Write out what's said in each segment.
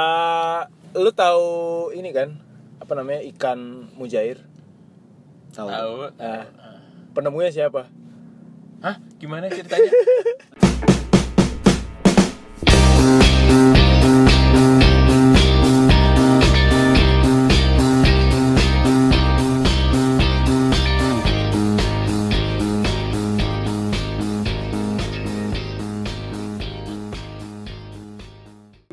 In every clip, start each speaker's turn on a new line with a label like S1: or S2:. S1: Eh, lu tahu ini kan apa namanya ikan mujair?
S2: Tahu.
S3: Tahu.
S1: Eh, penemunya siapa?
S3: Hah? Gimana ceritanya?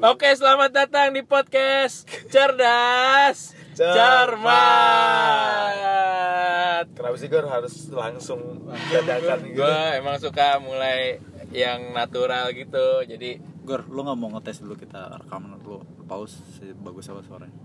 S3: Oke, selamat datang di podcast Cerdas Cermat.
S1: Kenapa sih gue harus langsung dadakan gitu.
S3: Gue emang suka mulai yang natural gitu. Jadi
S2: Gor, lu nggak mau ngetes dulu kita rekaman lu pause bagus apa suaranya?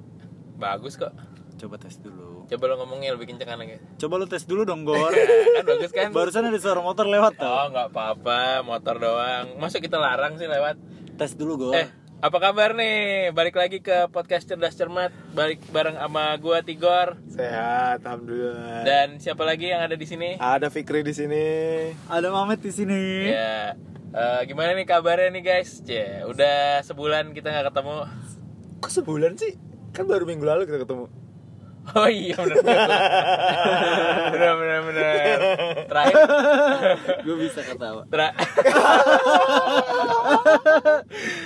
S3: bagus kok.
S2: Coba tes dulu.
S3: Coba lo ngomongnya lebih kenceng lagi.
S2: Coba lu tes dulu dong, Gor.
S3: Kan bagus kan?
S2: Barusan ada suara motor lewat tau.
S3: Oh, nggak apa-apa, motor doang. Masuk kita larang sih lewat.
S2: Tes dulu, Gor.
S3: Eh, apa kabar nih? Balik lagi ke podcast Cerdas Cermat, balik bareng sama gua Tigor
S1: Sehat, alhamdulillah.
S3: dan siapa lagi yang ada di sini?
S1: Ada Fikri di sini.
S2: Ada Mamet di sini.
S3: Ya, eh, gimana nih kabarnya nih guys? Ya, udah sebulan kita nggak ketemu.
S1: Kok sebulan sih? Kan baru minggu lalu kita ketemu.
S3: Oh iya benar benar benar benar. Terakhir
S2: Gue bisa ketawa.
S3: tra-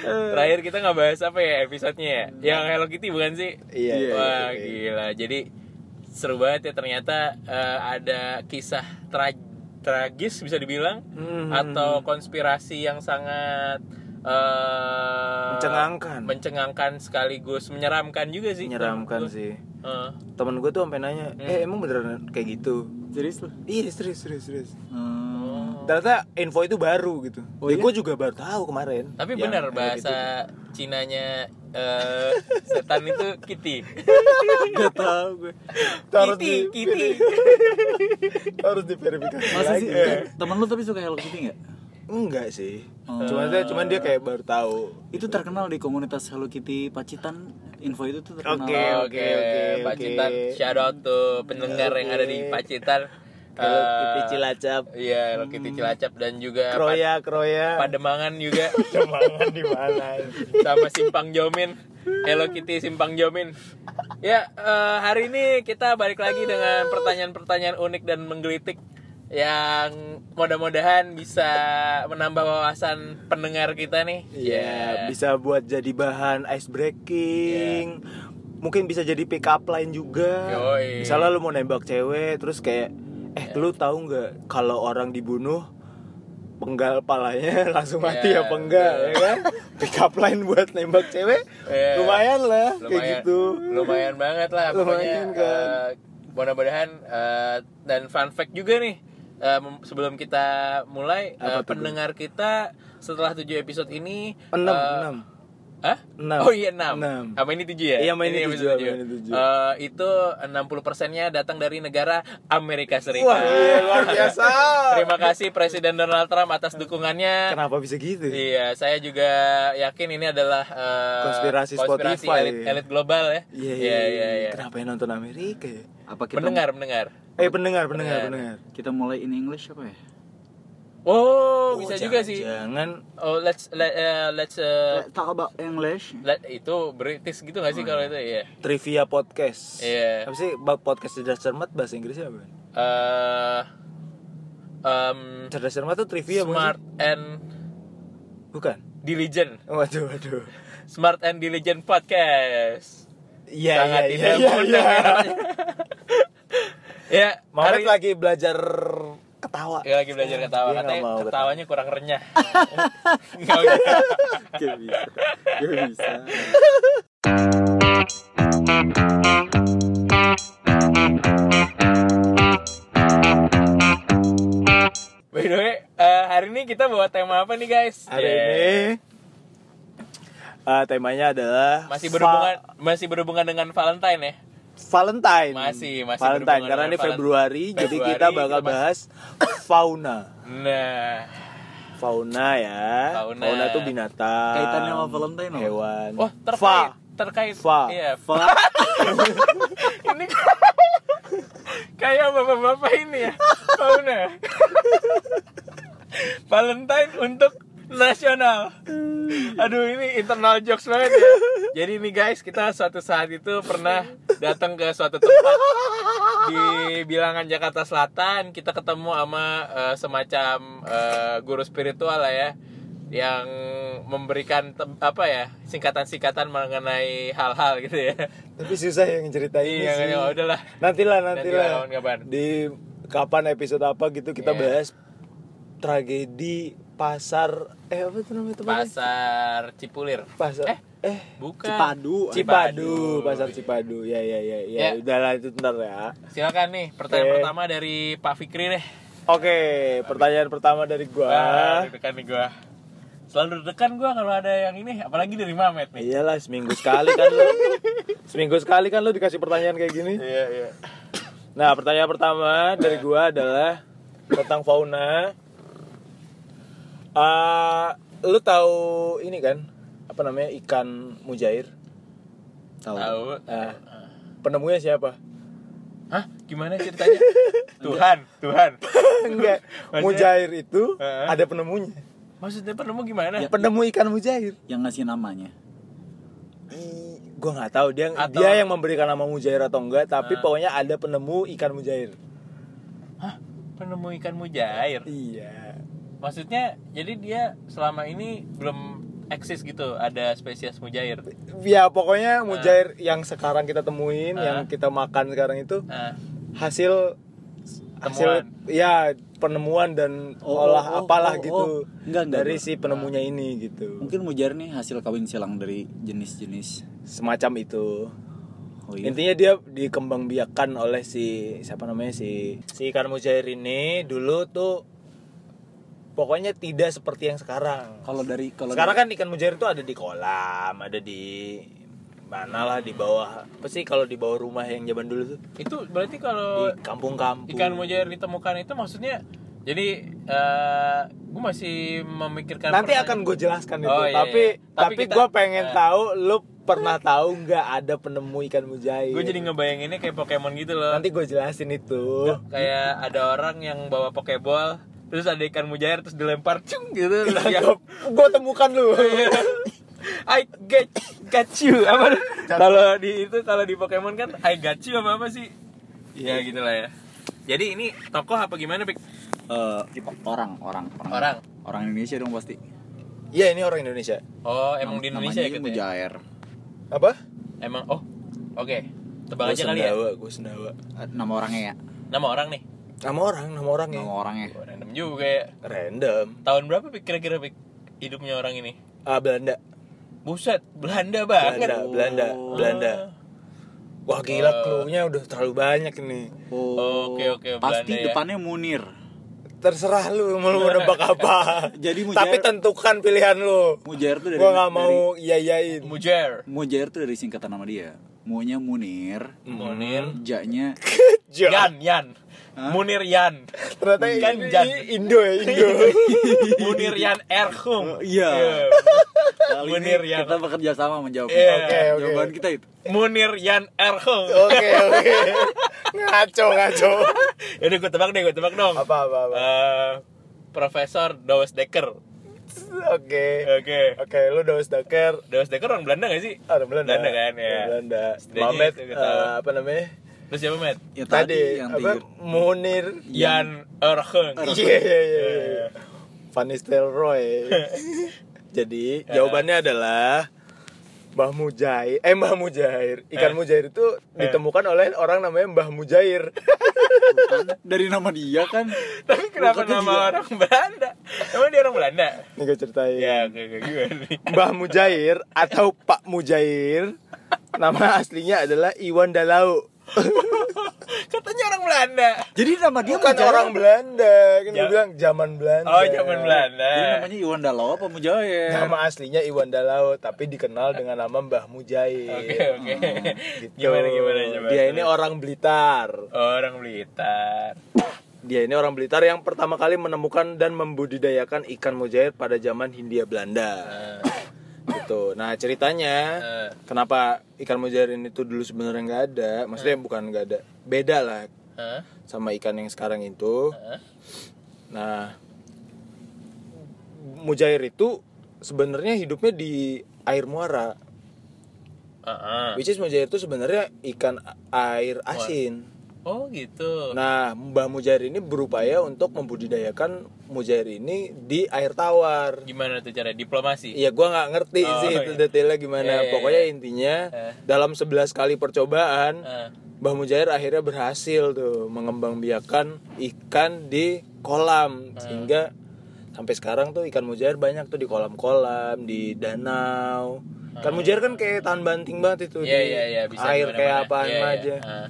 S3: Terakhir kita nggak bahas apa ya episodenya ya? Yang Hello Kitty bukan sih?
S1: Iya, iya,
S3: Wah
S1: iya.
S3: gila. Jadi seru banget ya ternyata eh, ada kisah tra- tragis bisa dibilang
S1: Hmm.
S3: atau konspirasi yang sangat eh,
S1: Mencengangkan.
S3: mencengangkan sekaligus menyeramkan juga sih. Hmm.
S1: Menyeramkan
S3: Menurut gua.
S1: sih.
S3: Eh.
S1: Temen gue tuh sampai nanya, eh emang beneran kayak gitu?
S2: Serius lu?
S1: Iya serius serius serius.
S2: Hmm.
S3: Oh.
S1: Ternyata info itu baru gitu.
S2: Oh
S1: Ya,
S2: iya?
S1: Gue juga baru tahu kemarin.
S3: Tapi
S1: Yang
S3: benar
S1: Ya, kayak gitu.
S3: bahasa Cinanya eh, setan itu kitty.
S2: Gak tau gue.
S1: Taruh di-
S3: kitty, kitty.
S1: gitu. harus diverifikasi
S3: Iya
S2: Masa
S1: lagi.
S2: sih?
S1: Eh,
S2: Temen lu tapi suka Hello Kitty nggak?
S1: Enggak sih.
S2: Oh.
S1: Cuman dia cuman dia kayak baru tahu.
S2: Itu terkenal di komunitas Hello Kitty Pacitan. Info itu tuh terkenal.
S1: Oke, oke, oke,
S3: Pacitan,
S1: oke.
S3: shout out tuh pendengar yang ada di Pacitan.
S1: Hello
S3: Eh,
S1: Kitty Cilacap.
S3: Iya, Hello Kitty Cilacap dan juga eh, Pad-
S1: Kroya kroya.
S3: Pademangan juga
S1: Pademangan di mana?
S3: sama Simpang Jomin. Hello Kitty Simpang Jomin. Ya, eh, hari ini kita balik lagi dengan pertanyaan-pertanyaan unik dan menggelitik yang mudah-mudahan bisa menambah wawasan pendengar kita nih. Ya.
S1: Iya, bisa buat jadi bahan ice breaking. Mungkin bisa jadi pick up line juga.
S3: Yoi.
S1: Misalnya lu mau nembak cewek terus kayak eh lu tahu nggak kalau orang dibunuh penggal palanya langsung mati
S3: Iya,
S1: apa enggak ya kan? Pick up line buat nembak cewek
S3: Iya.
S1: lumayan lah kayak
S3: lumayan,
S1: gitu.
S3: lumayan banget lah pokoknya
S1: Lumayan kan.
S3: eh, mudah-mudahan eh, dan fun fact juga nih eh, mem- sebelum kita mulai eh, pendengar kita setelah 7 episode ini
S1: Enam,
S3: eh,
S1: enam.
S3: Hah?
S1: Enam.
S3: Oh iya 6.
S1: Enam.
S3: Sama ini 7 ya?
S1: Iya, sama ini tujuh, sama
S3: episode tujuh.
S1: ini tujuh.
S3: Eh, itu 60%-nya datang dari negara Amerika Serikat.
S1: Wah, iya, luar biasa.
S3: Terima kasih Presiden Donald Trump atas dukungannya.
S1: Kenapa bisa gitu?
S3: Iya, saya juga yakin ini adalah eh,
S1: Konspirasi
S3: konspirasi
S1: Spotify.
S3: elit, elit global ya.
S1: Iya,
S3: iya, iya. iya.
S1: Kenapa yang nonton Amerika ya?
S2: Apa kita
S3: Mendengar, mendengar.
S1: Eh, pendengar,
S3: Iya.
S1: pendengar, pendengar.
S2: kita mulai in English apa ya?
S3: Oh, bisa
S1: jangan-
S3: juga sih.
S1: Jangan
S3: Oh, let's let, eh, let's eh,
S2: Talk about English.
S3: let- itu British gitu
S1: Hmm.
S3: gak sih kalau itu? Iya.
S1: trivia podcast.
S3: Iya.
S1: Apa sih ba- podcast cerdas cermat bahasa Inggrisnya apa?
S3: Eh, um,
S1: Cerdas cermat tuh trivia bukan
S3: smart and
S1: sih? bukan?
S3: diligent.
S1: Waduh, waduh.
S3: Smart and diligent podcast.
S1: Iya,
S3: Sangat
S1: iya,
S3: tidak
S1: iya,
S3: mudah.
S1: iya.
S3: ya,
S1: Mamet
S3: hari-
S1: lagi belajar ketawa.
S3: Ya lagi belajar ketawa
S1: Dia
S3: katanya
S1: nggak mau
S3: ketawanya kurang renyah. Nggak usah.
S2: Gak bisa. Gak bisa.
S3: By the way, eh, hari ini kita bawa tema apa nih guys?
S1: Hari
S3: Yeah.
S1: ini eh, temanya adalah
S3: masih
S1: fa-
S3: berhubungan masih berhubungan dengan Valentine ya.
S1: Valentine.
S3: Masih- masih
S1: Valentine
S3: berhubungan
S1: karena
S3: dengan
S1: ini
S3: Valen-
S1: Februari, jadi
S3: Februari,
S1: kita bakal
S3: kita masih-
S1: bahas fauna.
S3: Nah,
S1: Fauna ya.
S3: Fauna.
S1: itu binatang.
S2: Kaitannya sama Valentine apa?
S1: Hewan.
S3: oh terkait
S1: Fa.
S3: terkait
S1: Fa.
S3: Iya, fa-
S2: Fa-
S3: ini kayak bapak-bapak ini ya. Fauna. ya? Valentine untuk nasional. Aduh ini internal jokes banget ya. Jadi nih guys, kita suatu saat itu pernah datang ke suatu tempat di bilangan Jakarta Selatan, kita ketemu sama eh, semacam eh, guru spiritual lah ya yang memberikan tem- apa ya singkatan-singkatan mengenai hal-hal gitu ya.
S1: Tapi susah yang ceritain ini
S3: Iya,
S1: sih.
S3: ya udahlah.
S1: Nantilah,
S3: Nanti
S1: nantilah.
S3: lah, kawan-kawan.
S1: Di kapan episode apa gitu kita
S3: Iya.
S1: bahas tragedi pasar eh apa tuh namanya tempatnya?
S3: Pasar Cipulir.
S1: Pasar
S3: Eh,
S1: eh,
S3: bukan.
S2: Cipadu.
S1: Cipadu, pasar Cipadu. Ya ya ya ya.
S3: Ya.
S1: Udahlah itu ntar ya.
S3: Silakan nih, pertanyaan
S1: Oke.
S3: pertama dari Pak Fikri deh.
S1: Oke, pertanyaan pertama dari
S3: Wah,
S1: gua.
S3: deg-degan nih gua. Selalu deg-degan gua kalau ada yang ini, apalagi dari Mamet nih.
S1: Iyalah seminggu sekali kan lu. seminggu sekali kan lu dikasih pertanyaan kayak gini.
S3: Iya, iya.
S1: Nah, pertanyaan pertama dari gua adalah tentang fauna. Eh, lu tahu ini kan apa namanya ikan mujair?
S2: Tahu.
S3: Tahu.
S1: Nah, penemunya siapa?
S3: Hah? Gimana ceritanya? Tuhan, Tuhan.
S1: Enggak, mujair itu
S3: Heeh. Ya.
S1: ada penemunya.
S3: Maksudnya penemu gimana?
S1: Penemu ikan mujair.
S2: Yang ngasih namanya.
S1: Ih, gua nggak tahu dia
S3: Atau-
S1: dia
S3: Ah.
S1: yang memberikan nama mujair atau enggak, tapi pokoknya ada penemu ikan mujair.
S3: Hah? Penemu ikan mujair.
S1: Iya.
S3: Maksudnya jadi dia selama ini belum eksis gitu ada spesies mujair.
S1: Ya pokoknya mujair yang sekarang kita temuin,
S3: Ah.
S1: yang kita makan sekarang itu
S3: Nah,
S1: hasil hasil ya penemuan dan
S2: Oh,
S1: olah
S2: oh, oh,
S1: apalah
S2: oh, oh.
S1: gitu
S2: Enggak, enggak,
S1: dari
S2: enggak.
S1: si penemunya ini gitu.
S2: Mungkin mujar nih hasil kawin silang dari jenis-jenis.
S1: Semacam itu.
S2: Oh iya.
S1: Intinya dia dikembangbiakan oleh si siapa namanya si si ikan mujair ini dulu tuh pokoknya tidak seperti yang sekarang.
S2: Kalau dari kalau
S1: Sekarang kan ikan mujair itu ada di kolam, ada di mana lah di bawah. Apa sih kalau di bawah rumah yang zaman dulu tuh?
S3: itu berarti kalau
S1: Di kampung-kampung.
S3: Oh, ikan mujair ditemukan itu maksudnya jadi eh gue masih memikirkan
S1: Nanti
S3: pertanyaan.
S1: akan gue jelaskan itu.
S3: Oh, iya,
S1: tapi,
S3: iya. Tapi
S1: tapi
S3: kita-
S1: gue pengen
S3: eh.
S1: tahu lu pernah tahu nggak ada penemu ikan mujair?
S3: gue jadi ngebayanginnya kayak Pokemon gitu loh
S1: Nanti gue jelasin itu.
S3: kayak ada orang yang bawa pokeball terus ada ikan mujair terus dilempar cung gitu
S1: Iya.
S3: terus dia,
S1: gue temukan
S3: Oh,
S1: lu.
S3: iya. I get got you apa kalau di itu kalau di Pokemon kan I got you apa apa sih
S1: Iya.
S3: ya gitulah ya jadi ini tokoh apa gimana Pik?
S2: eh, orang, orang, orang
S3: Orang.
S2: orang Indonesia dong pasti.
S1: Iya ini orang Indonesia.
S3: oh emang di Indonesia ya
S2: namanya
S3: gitu ya?
S2: mujair.
S1: Apa?
S3: emang oh oke tebak aja kali ya
S1: Gue sendawa.
S2: Eh, Nama orangnya ya.
S3: nama orang nih
S1: Nama orang, nama orang ya.
S2: Nama orangnya.
S3: Wah, random juga ya
S1: Random.
S3: tahun berapa Pik, kira-kira Pik, hidupnya orang ini
S1: Ah Belanda.
S3: buset Belanda banget Oh.
S1: Belanda, Belanda, Belanda. Wah gila clue-nya udah terlalu banyak nih.
S2: Oh,
S3: Oke, oke,
S2: Pasti
S3: Belanda ya.
S2: depannya Munir.
S1: Terserah lu mau lu nebak apa.
S2: Jadi mujair-
S1: Tapi tentukan pilihan lu.
S2: Mujair tuh dari
S1: Gua nggak
S2: dari-
S1: mau iya-iyain.
S3: Mujair
S2: Mujair tuh dari singkatan nama dia. Munya Munir,
S3: Hmm.
S1: Hmm.
S3: Munir
S2: ja-nya
S1: Jangan.
S3: Yan Yan Munir Yan
S1: Ternyata
S3: Kan
S1: ini-
S3: Jan.
S1: ini Indo ya, Indo.
S3: Munir Yan
S1: Oh,
S3: Erhum
S2: Iya. Kali ini
S3: Munir ya.
S2: kita bekerja sama menjawab.
S3: Iya.
S1: Oke, oke.
S2: Jawaban kita itu.
S3: Munir Yan Erhum
S1: Oke, oke. Ngaco, ngaco.
S3: Ini gue tebak deh gue tebak dong
S1: Apa apa apa.
S3: Eh, Profesor Dawes Dekker
S1: Oke.
S3: Oke
S1: Oke, lu Daus Daker.
S3: Dawes Dekker orang Belanda gak sih?
S1: Ada Ah, Belanda.
S3: Belanda kan ya
S1: Orang Belanda.
S3: Setidaknya
S1: Mamet
S3: itu ketahuan.
S1: eh, apa namanya?
S3: Terus siapa Matt?
S2: Ya
S1: Tadi,
S2: yang
S1: apa?
S2: tiga.
S1: Munir.
S3: Yan Erhum
S1: Iya, iya, iya. iya. Van Nistelrooy. Jadi, jawabannya adalah Mbah Mujair, eh Mbah Mujair, ikan mujair itu ditemukan oleh orang namanya Mbah Mujair.
S2: Bukan. kan, Dari nama dia kan.
S3: Tapi kenapa
S2: Bukannya
S3: nama
S2: juga.
S3: orang Belanda? Emang dia orang Belanda?
S1: Nih gue ceritain.
S3: Ya oke oke gimana nih?
S1: Mbah Mujair atau Pak Mujair nama aslinya adalah Iwan Dalau
S3: Katanya orang Belanda
S2: Jadi nama
S1: dia
S2: dia
S1: kan
S2: Mujair.
S1: orang Belanda kan gue
S3: Ja-
S1: bilang zaman Belanda
S3: Oh zaman Belanda
S1: Iya,
S2: Jadi namanya Iwan Dalau apa Mujair?
S1: nama aslinya Iwan Dalau tapi dikenal dengan nama Mbah Mujair
S3: Oke oke
S1: Gitu.
S3: Gimana gimana coba
S1: dia ini orang Blitar
S3: Orang Blitar
S1: dia ini orang Blitar yang pertama kali menemukan dan membudidayakan ikan mujair pada zaman Hindia Belanda
S3: Eh,
S1: gitu nah ceritanya
S3: eh,
S1: kenapa ikan mujair ini tuh dulu sebenarnya nggak ada maksudnya bukan nggak ada beda lah
S3: eh,
S1: sama ikan yang sekarang itu
S3: eh.
S1: nah mujair itu sebenarnya hidupnya di air muara.
S3: Heeh.
S1: Which is mujair itu sebenarnya ikan air asin.
S3: Oh gitu.
S1: Nah, Mbah Mujair ini berupaya untuk membudidayakan mujair ini di air tawar.
S3: Gimana tuh cara diplomasi?
S1: Ya gua nggak ngerti
S3: Oh,
S1: sih
S3: iya.
S1: itu detailnya gimana.
S3: Iya, iya,
S1: Pokoknya
S3: iya.
S1: intinya
S3: Eh.
S1: dalam 11 kali percobaan
S3: Eh,
S1: Mbah Mujair akhirnya berhasil tuh mengembangbiakan ikan di kolam
S3: Eh.
S1: sehingga sampai sekarang tuh ikan mujair banyak tuh di kolam-kolam, di danau. Ikan mujair kan kayak tahan banting banget itu
S3: Eh. Iya
S1: di
S3: iya iya bisa
S1: air
S3: dimana-mana.
S1: kayak apaan
S3: Iya, iya.
S1: aja.
S3: Eh,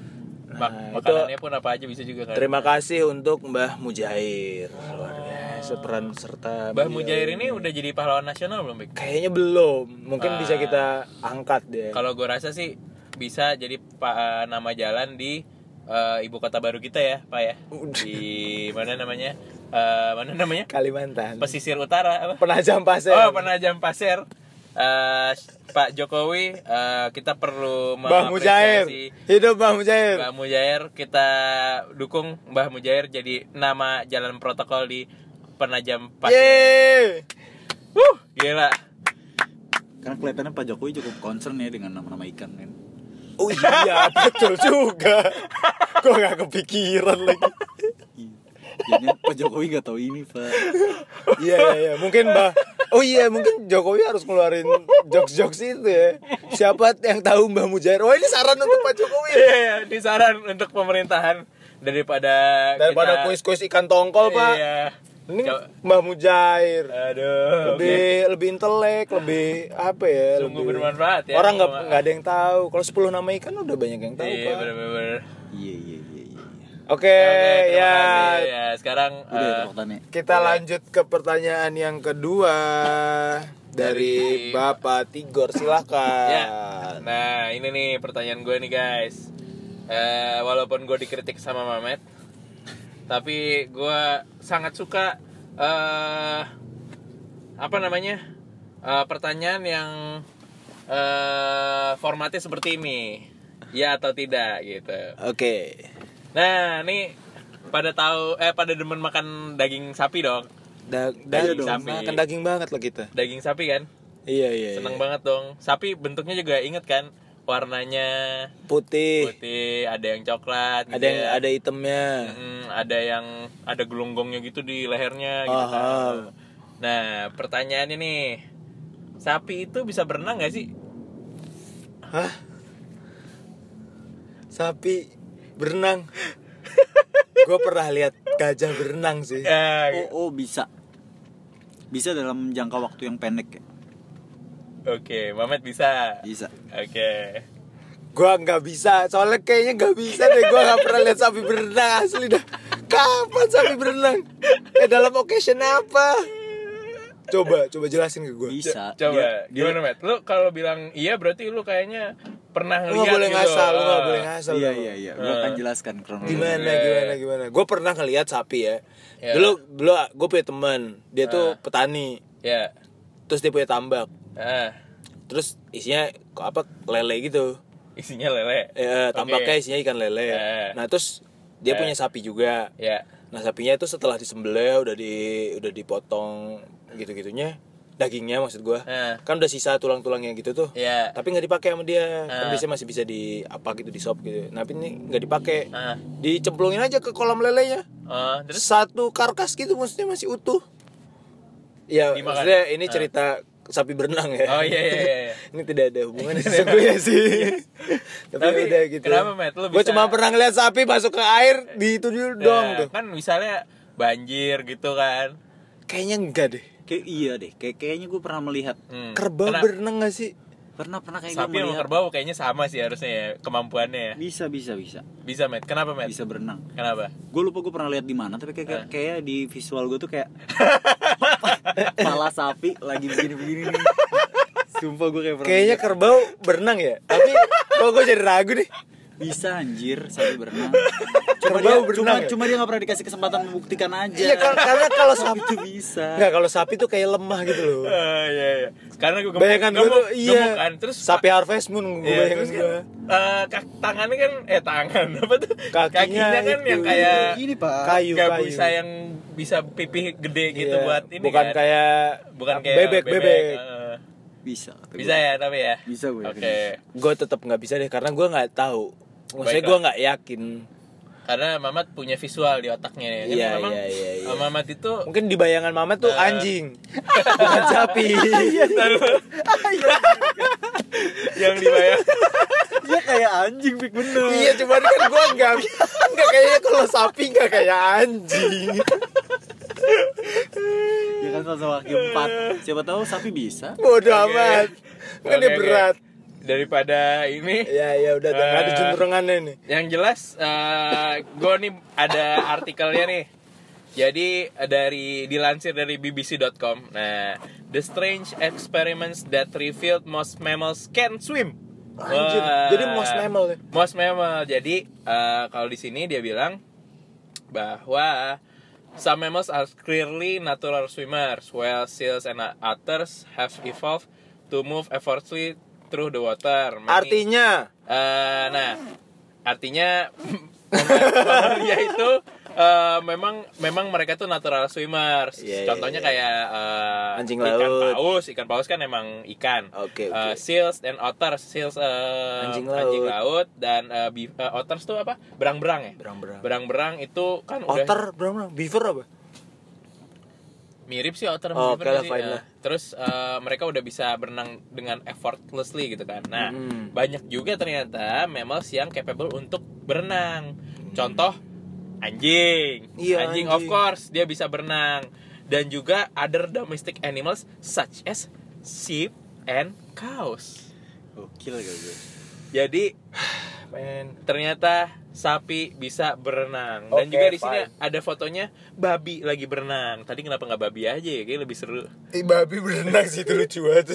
S1: Nah,
S3: mak-
S1: itu-
S3: makanannya pun apa aja bisa juga kan.
S1: Terima kasih untuk Mbah Mujair luar biasa peran serta
S3: Mbah
S1: beliau.
S3: Mujair ini udah jadi pahlawan nasional belum, Bik?
S1: kayaknya belum mungkin bisa kita angkat deh
S3: Ah. Kalau gue rasa sih bisa jadi pa- eh, nama jalan di eh, ibu kota baru kita ya, Pak ya. Di mana namanya? Eh, mana namanya?
S1: Kalimantan
S3: Pesisir Utara apa?
S1: penajam pasir
S3: Oh, Penajam Pasir. Eh, Pak Jokowi, eh, kita perlu
S1: Mbah Mujair
S3: mengapresiasi
S1: hidup Mbah Mujair
S3: Mbah Mujair. Kita dukung Mbah Mujair jadi nama jalan protokol di Penajam Pasir.
S1: Yeay
S3: Wuh, gila.
S2: Karena kelihatannya Pak Jokowi cukup concern ya dengan nama-nama ikan kan.
S1: oh iya betul juga Gua nggak kepikiran lagi
S2: Iya. Jadi Pak Jokowi nggak tahu ini Pak.
S1: iya iya iya mungkin Mbah oh iya mungkin Jokowi harus ngeluarin jokes jokes itu ya siapa yang tahu Mbah Mujair oh ini saran untuk Pak Jokowi ya
S3: Iya, iya, ini saran untuk pemerintahan daripada
S1: daripada
S3: kita-
S1: kuis-kuis ikan tongkol pak
S3: Iya.
S1: ini
S3: Coba-
S1: Mbah Mujair
S3: Aduh.
S1: lebih lebih intelek lebih apa ya
S3: Sungguh
S1: lebih-
S3: bermanfaat ya.
S1: orang nggak
S3: Cuma-
S1: nggak ada yang tahu kalau 10 nama ikan udah banyak yang tahu
S3: Iya,
S1: pak
S3: bener-bener.
S2: Iya iya iya iya. iya.
S1: oke
S3: Oke, terima
S1: ya
S3: kasih. Ya, sekarang
S2: Udah ya
S3: eh,
S2: tepuk tangan ya.
S1: kita lanjut ke pertanyaan yang kedua dari
S3: Dari-
S1: Bapak Tigor silahkan
S3: ya. Nah, ini nih pertanyaan gue nih, guys. Eh, walaupun gue dikritik sama Mamet, tapi gue sangat suka eh apa namanya? eh, pertanyaan yang eh formatnya seperti ini. Ya atau tidak gitu.
S1: oke
S3: Nah, nih pada tahu eh pada demen makan daging sapi dong.
S1: Da-
S3: Daging
S1: daging
S3: sapi.
S1: makan daging banget loh kita
S3: Daging sapi kan?
S1: iya iya, iya.
S3: Seneng banget dong. Sapi bentuknya juga inget kan? Warnanya
S1: putih,
S3: putih, ada yang coklat,
S1: ada
S3: gitu
S1: yang
S3: ya.
S1: ada itemnya
S3: Mm, ada yang ada gelonggongnya gitu di lehernya gitu kan.
S1: Aham.
S3: Nah, pertanyaannya nih. Sapi itu bisa berenang gak sih?
S1: Hah? Sapi berenang. gue pernah lihat gajah berenang sih.
S3: Ya,
S2: Oh, oh bisa. Bisa dalam jangka waktu yang pendek ya.
S3: Oke, Mamet bisa.
S1: Iya.
S2: Bisa.
S3: Oke.
S1: Gua nggak bisa, soalnya kayaknya nggak bisa deh. Gua nggak pernah lihat sapi berenang asli dah. Kapan sapi berenang? Eh dalam occasion apa? Coba, coba jelasin ke gue.
S2: Bisa. iya.
S3: Coba,
S2: Dia-
S3: gimana, Matt? Lu kalau bilang iya berarti lu kayaknya pernah
S1: Lu
S3: ngeliat
S1: nggak boleh
S3: gitu.
S1: ngasal, lu nggak
S3: Ah.
S1: boleh ngasal.
S2: Iya
S1: lu.
S2: iya iya. Gua akan jelaskan kronologi.
S1: Gimana,
S3: Iya.
S1: gimana, gimana? Gue pernah ngeliat sapi ya.
S3: Iya.
S1: Dulu, dulu gue punya teman, dia tuh petani,
S3: Ya.
S1: terus dia punya tambak.
S3: Ah,
S1: terus isinya kok apa lele gitu
S3: isinya
S1: eh,
S3: lele.
S1: eh,
S3: Oke.
S1: tambaknya isinya ikan lele
S3: Eh.
S1: nah terus dia punya sapi juga
S3: Ya.
S1: nah sapinya itu setelah disembelih udah di udah dipotong gitu gitunya dagingnya maksud gua
S3: Eh.
S1: kan udah sisa tulang-tulangnya gitu tuh
S3: Ya.
S1: tapi nggak dipakai sama dia kan
S3: Eh.
S1: biasanya masih bisa di apa gitu di sop gitu nah, tapi ini nggak dipakai
S3: Ah.
S1: dicemplungin aja ke kolam lelenya
S3: ah, terus
S1: satu karkas gitu maksudnya masih utuh ya
S3: Dimakan. Ah.
S1: maksudnya ini cerita sapi berenang ya
S3: Oh iya iya iya. iya.
S1: ini tidak ada hubungannya sesungguhnya sih tapi,
S3: Tapi
S1: udah gitu
S3: kenapa, Matt? Lu
S1: gue
S3: bisa-
S1: cuma pernah ngeliat sapi masuk ke air di itu dulu dong
S3: Nah,
S1: tuh
S3: Kan misalnya banjir gitu kan.
S1: kayaknya enggak deh
S2: Kayak iya deh. Kayak kayaknya gue pernah melihat.
S3: Hmm.
S1: kerbau
S3: Kena-
S1: berenang gak sih
S2: Pernah pernah kayak gue
S3: Sapi sama
S2: melihat.
S3: kerbau kayaknya sama sih harusnya ya kemampuannya ya.
S2: Bisa bisa bisa.
S3: Bisa, Matt. Kenapa, Matt?
S2: Bisa berenang.
S3: Kenapa?
S2: Gue lupa gue pernah lihat di mana tapi kayak kayak, kayak di visual gue tuh kayak pala sapi lagi begini-begini nih. Sumpah gue kayak pernah.
S1: kayaknya kerbau berenang ya tapi kok gue jadi ragu deh
S2: bisa anjir sapi berenang cuma
S1: Kerbau
S2: dia
S1: berenang ya?
S2: cuma, cuma dia nggak pernah dikasih kesempatan membuktikan aja
S1: Iya kar- karena kalau sapi
S2: itu bisa
S1: Enggak, kalau sapi tuh kayak lemah gitu loh.
S3: Eh, iya, iya. Karena gue gemuk,
S1: Bayangan gue
S3: gemuk,
S1: tuh iya.
S3: gemuk kan. Terus
S1: sapi harvest moon gue
S3: Iya,
S1: bayangin
S3: terus kan,
S1: gue.
S3: eh, kak, tangannya kan eh tangan apa tuh?
S1: Kakinya
S3: kan
S1: itu.
S3: yang kayak
S4: Ini pak.
S1: Kayu
S3: nggak
S1: kayu.
S3: bisa yang bisa pipih gede gitu
S1: Iya,
S3: buat ini
S1: bukan
S3: kan.
S1: kayak
S3: bukan kayak
S1: bebek bebek.
S3: eh,
S2: bisa kata
S3: bisa
S2: gua.
S3: ya tapi ya.
S2: bisa gue
S3: Oke.
S1: Gue tetap nggak bisa deh karena gue nggak tahu. Maksudnya
S3: Baiklah.
S1: gue nggak yakin.
S3: Karena Mamat punya visual di otaknya ya. Kan
S1: Iya,
S3: memang
S1: iya, iya, iya.
S3: eh, Mamat itu
S1: Mungkin di bayangan mama tuh
S3: Ah.
S1: anjing, bukan sapi.
S3: Iya, yang dibayar
S2: dia Iya, kayak anjing pik bener
S1: iya, cuman kan gue nggak nggak kayaknya kalau sapi nggak kayak anjing.
S2: ya kan sama kaki empat siapa tahu sapi bisa
S1: Bodoh
S3: Oke.
S1: amat. Mungkin
S3: Oke,
S1: dia
S3: oke.
S1: berat.
S3: daripada ini
S1: Ya ya udah, udah nggak ada
S3: Eh.
S1: juntrungannya nih.
S3: Yang jelas, gue nih ada artikelnya nih. Jadi eh, dari dilansir dari bbc.com. Nah, the strange experiments that revealed most mammals can swim.
S1: Anjir,
S3: Wah.
S1: jadi most mammal ya?
S3: Most mammal. Jadi eh, kalau di sini dia bilang bahwa some mammals are clearly natural swimmers, while seals and otters have evolved to move effortlessly through the water. Many-
S1: Artinya,
S3: Eh, nah, artinya Mongolia itu eh, memang memang mereka tuh natural swimmers.
S1: Iya, iya,
S3: Contohnya
S1: iya.
S3: kayak eh,
S1: Anjing
S3: ikan
S1: laut.
S3: paus, ikan paus kan emang ikan.
S1: Oke, oke.
S3: Eh, seals and otters, seals eh,
S1: Anjing laut.
S3: laut dan eh, bi- eh, otters tuh apa? Berang-berang ya.
S1: Berang-berang.
S3: Berang-berang itu kan udah
S1: otter, berang berang, beaver apa?
S3: mirip sih otter
S1: Oh, oke
S3: sama beaver
S1: lah,
S3: sih.
S1: fine
S3: Nah,
S1: lah.
S3: terus eh, mereka udah bisa berenang dengan effortlessly gitu kan nah
S1: Mm.
S3: banyak juga ternyata mammals yang capable untuk berenang contoh anjing
S1: Iya, anjing.
S3: anjing of course dia bisa berenang dan juga other domestic animals such as sheep and cows
S2: gokil gak gue
S3: jadi
S1: Men.
S3: ternyata sapi bisa berenang dan
S1: Oke,
S3: juga di sini
S1: fine.
S3: ada fotonya babi lagi berenang tadi kenapa nggak babi aja ya kayaknya lebih seru
S1: Ih, babi berenang sih itu lucu banget.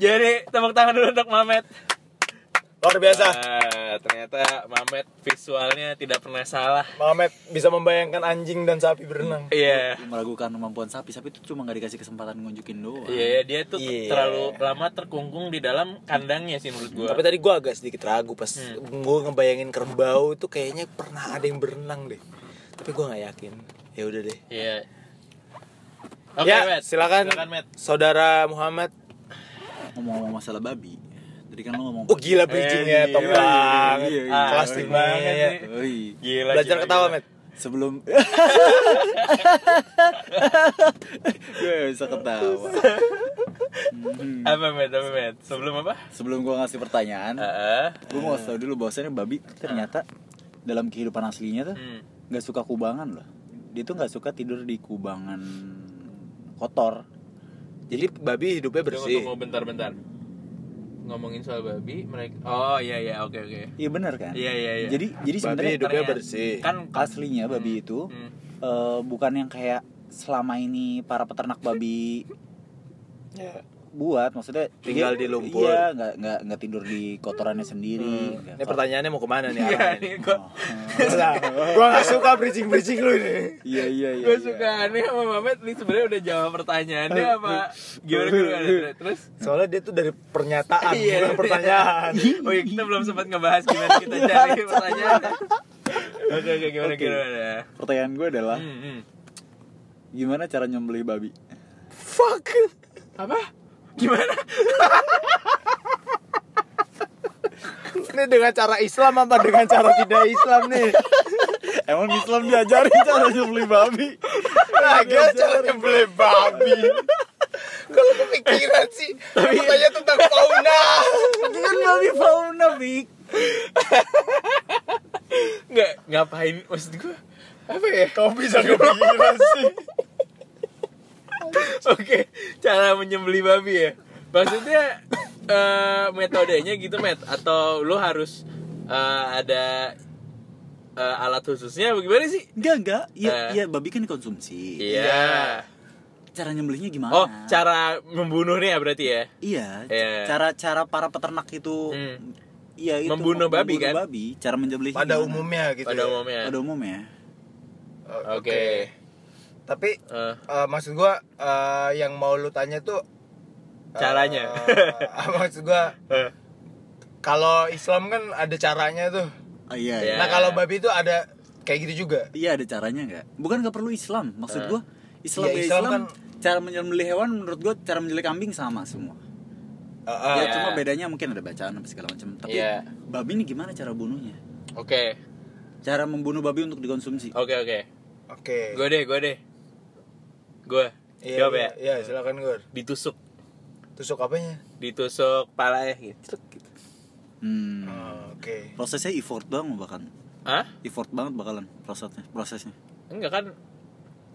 S3: Jadi tepuk tangan dulu untuk Mamet.
S1: Luar biasa.
S3: Ah, ternyata Mamet visualnya tidak pernah salah.
S1: Mamet bisa membayangkan anjing dan sapi berenang.
S3: Iya.
S2: meragukan kemampuan sapi sapi itu cuma nggak dikasih kesempatan ngunjukin doang
S3: Iya, dia tuh ter-
S1: Iya.
S3: terlalu lama terkungkung di dalam kandangnya sih menurut gua.
S1: Tapi tadi gua agak sedikit ragu pas gua ngebayangin kerbau itu kayaknya pernah ada yang berenang deh. Tapi gua nggak yakin. Ya udah deh.
S3: Iya. Oke,
S1: ya,
S3: Matt.
S1: silakan,
S3: Matt.
S1: saudara Muhammad.
S2: ngomong-ngomong masalah babi tadi kan lo ngomong
S1: Oh gila bridgingnya
S3: Eh,
S1: top
S3: iya, iya,
S1: banget.
S2: iya, iya.
S1: Kelas
S3: Keren
S1: tinggi
S3: banget
S1: ya.
S3: nih.
S2: Oi,
S3: Gila.
S1: Belajar
S3: gila,
S1: ketawa,
S3: gila.
S1: Met.
S2: sebelum gue gak bisa ketawa Hmm.
S3: Apa, Met? Apa, Met? Sebelum apa?
S2: sebelum gue ngasih pertanyaan
S3: Heeh.
S2: gue mau kasih tau dulu bahwasannya babi tuh ternyata dalam kehidupan aslinya tuh
S3: Hmm.
S2: nggak suka kubangan loh dia tuh nggak suka tidur di kubangan kotor
S1: Jadi babi hidupnya
S3: Tunggu,
S1: bersih.
S3: tunggu bentar-bentar. Ngomongin soal babi, mereka Oh, iya iya, oke oke.
S2: iya benar kan
S3: Iya iya iya.
S2: jadi jadi
S1: Babi
S2: sebenarnya
S1: hidupnya
S3: ternyata-
S1: bersih.
S3: kan
S2: aslinya babi itu
S3: Hmm.
S2: eh, bukan yang kayak selama ini para peternak babi
S1: Ya.
S2: buat maksudnya
S1: Tinggal
S2: dia-
S1: di lumpur.
S2: iya nggak nggak nggak tidur di kotorannya
S3: Hmm.
S2: sendiri nggak
S1: Ini
S2: kot-
S1: pertanyaannya mau kemana nih?
S3: Iya,
S1: arahnya nih? Oh.
S3: nih gua
S1: Lah, gua gak suka bridging-bridging lu ini.
S2: iya iya iya
S3: gue
S2: iya.
S3: suka aneh sama Mamet ini sebenarnya udah jawab pertanyaannya
S1: Eh,
S3: apa gimana gimana terus
S1: Soalnya dia tuh dari pernyataan, eh,
S3: Iya.
S1: Ah, bukan pertanyaan. Iya,
S3: oh iya kita belum sempat ngebahas gimana kita cari pertanyaan oke oke gimana
S2: Oke.
S3: gimana
S2: pertanyaan gue adalah
S3: Hmm, hmm.
S2: gimana cara nyembelih babi
S1: Fuck.
S3: apa gimana
S1: Ini dengan cara Islam apa dengan cara tidak Islam nih?
S2: emang Islam diajarin cara nyembelih babi
S1: Lagi cara nyembelih babi. Kalau kepikiran sih, pertanyaan tentang fauna.
S2: kan babi fauna bik
S3: nggak ngapain maksud gue
S1: Apa ya? Kau bisa kepikiran sih.
S3: oke cara menyembeli babi ya maksudnya eh, metodenya gitu met atau lu harus eh, ada eh, alat khususnya bagaimana sih
S2: enggak enggak iya
S3: Eh.
S2: iya babi kan dikonsumsi
S3: Iya.
S2: cara nyembelihnya gimana
S3: Oh, cara membunuhnya berarti ya?
S2: iya
S3: Iya.
S2: cara cara para peternak itu
S3: Hmm.
S2: iya itu
S3: Membunuh babi, kan?
S2: babi cara menyembelih
S1: pada umumnya gitu
S3: pada
S1: ya.
S3: umumnya.
S2: pada umumnya
S1: Oh,
S3: Oke.
S1: tapi
S3: Eh,
S1: eh, maksud gua eh, yang mau lu tanya tuh eh,
S3: Caranya.
S1: eh, maksud gua
S3: eh.
S1: kalau Islam kan ada caranya tuh
S2: Oh, iya
S3: Ya.
S2: iya.
S1: nah kalau babi itu ada kayak gitu juga
S2: Iya, ada caranya nggak bukan nggak perlu Islam maksud gua Islam
S1: Iya,
S2: ya
S1: Islam
S2: Islam,
S1: kan-
S2: cara menyembelih hewan menurut gua cara menyembelih kambing sama semua
S1: Eh, eh,
S2: ya
S3: iya.
S2: cuma bedanya mungkin ada bacaan apa segala macam tapi
S3: Iya.
S2: babi ini gimana cara bunuhnya
S3: Oke.
S2: cara membunuh babi untuk dikonsumsi
S3: Oke oke.
S1: oke
S3: Gue deh, gue deh. Gue.
S1: Iya,
S3: Jawab ya.
S1: iya, iya, silakan Gur.
S3: Ditusuk.
S1: Tusuk apanya?
S3: Ditusuk pala ya gitu.
S2: Hmm.
S1: Oh, Oke.
S2: prosesnya effort banget bahkan
S3: Hah?
S2: effort banget bakalan prosesnya prosesnya
S3: Enggak kan?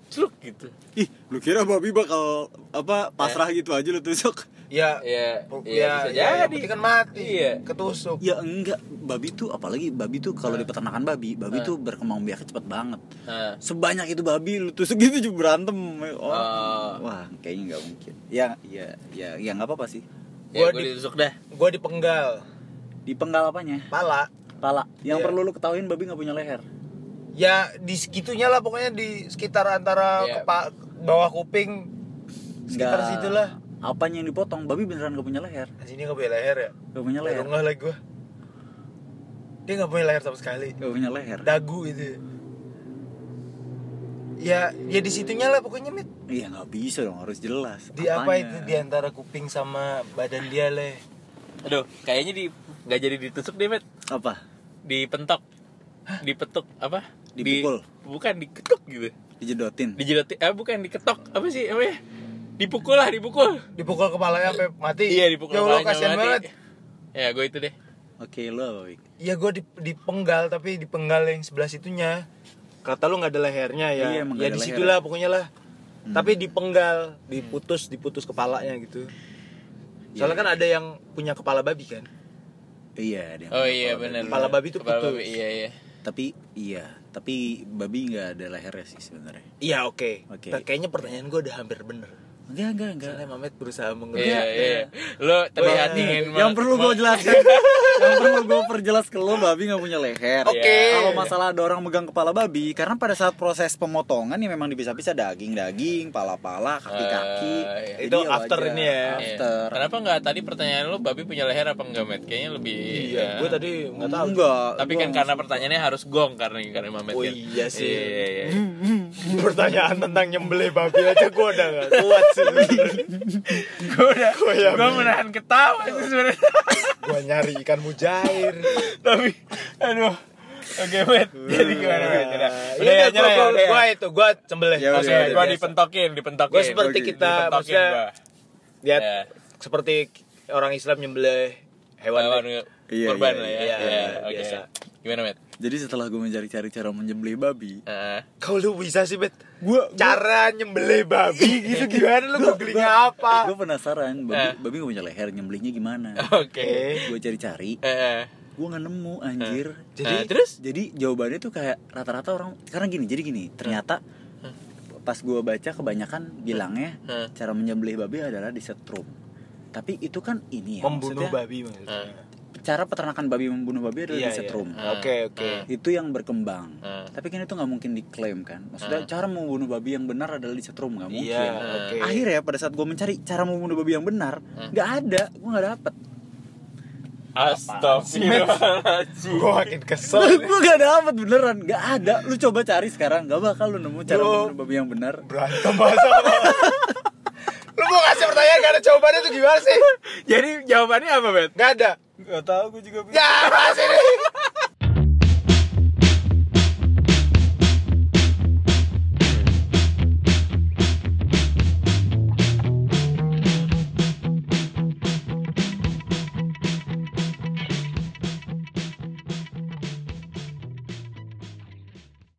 S3: Celuk gitu.
S2: ih lu kira babi bakal apa pasrah gitu aja lu tusuk
S1: Ya,
S3: Ya,
S1: pu- ya,
S3: ya, bisa
S1: yang
S3: jadi.
S1: penting kan mati.
S3: Iya.
S1: Ketusuk.
S2: ya enggak babi tuh apalagi babi tuh kalau di peternakan babi babi tuh berkembang biaknya cepet banget
S3: Nah,
S2: sebanyak itu babi lu tusuk gitu juga berantem
S1: Ah.
S2: oh.
S3: Oh.
S2: wah kayaknya nggak mungkin ya ya ya ya nggak apa apa sih
S1: Gua
S3: ya, gue
S1: di-
S3: ditusuk dah.
S1: Gua dipenggal
S2: di penggal apanya
S1: pala.
S2: pala yang
S1: Iya.
S2: perlu lu ketahuin babi nggak punya leher
S1: Ya di segitunya lah pokoknya di sekitar antara
S3: Iya.
S1: kepa- bawah kuping sekitar
S2: Nggak-
S1: situ lah.
S2: apanya yang dipotong babi beneran nggak punya leher
S1: Sini nggak punya leher ya?
S2: nggak punya leher
S1: Enggak lagi gua. Dia nggak punya leher sama sekali.
S2: nggak punya leher
S1: Dagu itu. Ya, ya di situnya lah pokoknya mit.
S2: Iya nggak bisa dong harus jelas.
S1: Di apa
S2: Apanya?
S1: itu di antara kuping sama badan dia leh.
S3: Aduh, kayaknya di nggak jadi ditusuk deh, Met.
S2: Apa?
S3: Dipentok. Dipetuk apa? Di-
S2: Dipukul.
S3: bukan diketuk gitu.
S2: Dijedotin.
S3: Dijedot eh bukan diketok. Apa sih namanya? Dipukul lah, dipukul.
S1: Dipukul kepalanya sampai mati.
S3: Iya, dipukul.
S1: Ya Allah
S3: kepalanya
S1: kasihan
S3: mati.
S1: banget.
S3: Ya, gue itu deh.
S2: Oke lo apa, Wik?
S1: Ya gue dipenggal tapi dipenggal yang sebelah situnya. Kata lu nggak ada lehernya ya.
S2: Iya, emang
S1: ya
S2: nggak ada Hmm.
S1: di situlah pokoknya lah. Tapi dipenggal, diputus, diputus kepalanya gitu. Soalnya kan ada yang punya kepala babi kan.
S2: Iya dia.
S3: Oh iya, benar.
S1: Kepala babi tuh
S3: Kepala
S1: putus.
S3: babi, Iya, iya.
S2: Tapi iya, tapi babi nggak ada lehernya sih sebenarnya.
S1: Iya oke.
S2: Oke.
S1: Nah,
S2: Iya.
S1: Kayaknya pertanyaan gue udah hampir bener.
S2: Enggak enggak enggak.
S1: Soalnya Mamet berusaha mengerti.
S3: Iya, iya. Lo terlihat
S1: Wah,
S3: ingin
S2: Yang
S3: me-
S2: perlu
S3: me-
S2: gue jelasin, yang perlu gue perjelas ke lo babi nggak punya leher. Iya.
S1: Oke.
S2: Kalau masalah ada orang megang kepala babi, karena pada saat proses pemotongan ya memang dipisah-pisah daging-daging, pala-pala, kaki-kaki.
S3: Eh,
S2: Jadi
S1: iya. itu
S2: ya
S1: after
S2: wajar.
S1: ini ya.
S3: Iya.
S2: After.
S3: Kenapa nggak tadi pertanyaan lu babi punya leher apa enggak, Met? Kayaknya lebih
S1: Iya,
S3: ya.
S1: gue tadi nggak tahu.
S2: Enggak.
S3: Tapi
S2: gua
S3: kan karena pertanyaannya harus gong karena karena Mamet
S1: Oh
S3: kan.
S1: iya sih.
S3: Iya, iya, iya.
S1: Pertanyaan tentang nyembelih babi aja gue udah gak kuat sih.
S3: gue udah
S1: Oh, iya,
S3: gue menahan ketawa sih sebenarnya
S1: gue nyari ikan mujair.
S2: Iya.
S3: tapi aduh oke bet jadi gimana bet udah
S1: Ini
S3: udah nyerah ya, udah
S1: gue
S3: ya
S1: itu gue sembelih.
S2: Ya
S3: Oke,
S2: udah, udah,
S3: gue
S2: biasa.
S3: dipentokin, dipentokin.
S1: Gua seperti
S3: Oke.
S1: kita,
S3: Dipentokin
S1: maksudnya
S3: gua.
S1: Lihat
S3: Ya.
S1: seperti orang Islam nyembelih hewan.
S3: Hewan
S2: Iya,
S3: kurban
S2: iya,
S3: lah ya.
S1: iya,
S3: Iya,
S1: iya,
S3: oke.
S1: biasa.
S3: Gimana, Bet?
S2: Jadi setelah gue mencari-cari cara menyembelih babi,
S1: Eh,
S3: Heeh.
S1: Kau lu bisa sih bet.
S2: Gua- gua-
S1: cara nyembelih
S2: Iya.
S1: babi gitu gimana lu googlingnya apa?
S2: gue penasaran babi
S3: Eh.
S2: babi gak punya leher nyembelihnya gimana?
S3: Oke. Eh,
S1: Oke.
S2: gue cari-cari,
S3: Heeh.
S2: gue nggak nemu anjir.
S3: Jadi
S1: Jadi-
S3: Eh, terus
S2: Jadi jawabannya tuh kayak rata-rata orang karena gini, jadi gini ternyata pas gue baca kebanyakan bilangnya
S3: Eh.
S2: cara menyembelih babi adalah disetrum. Tapi itu kan ini ya,
S1: Membunuh
S2: maksudnya Iya,
S1: babi Iya, maksudnya.
S2: cara peternakan babi membunuh babi adalah disetrum.
S1: Oke oke.
S2: Itu yang berkembang.
S3: Eh.
S2: Tapi kan itu nggak mungkin diklaim kan. Maksudnya cara membunuh babi yang benar adalah disetrum nggak mungkin.
S1: Iya
S3: Eh.
S1: oke.
S2: akhirnya pada saat gue mencari cara membunuh babi yang benar
S3: Eh.
S2: nggak ada gue nggak dapet
S3: astagfirullahaladzim.
S1: Gue makin kesel.
S2: gue nggak dapet beneran nggak ada lu coba cari sekarang nggak bakal lu nemu cara
S1: Lu-
S2: membunuh babi yang benar
S1: Berantem bahasa apa? Lu mau kasih pertanyaan gak ada jawabannya tuh gimana sih?
S3: Jadi jawabannya apa, Bet?
S1: Gak ada.
S2: nggak tahu gue juga
S1: Ya apa sih ini?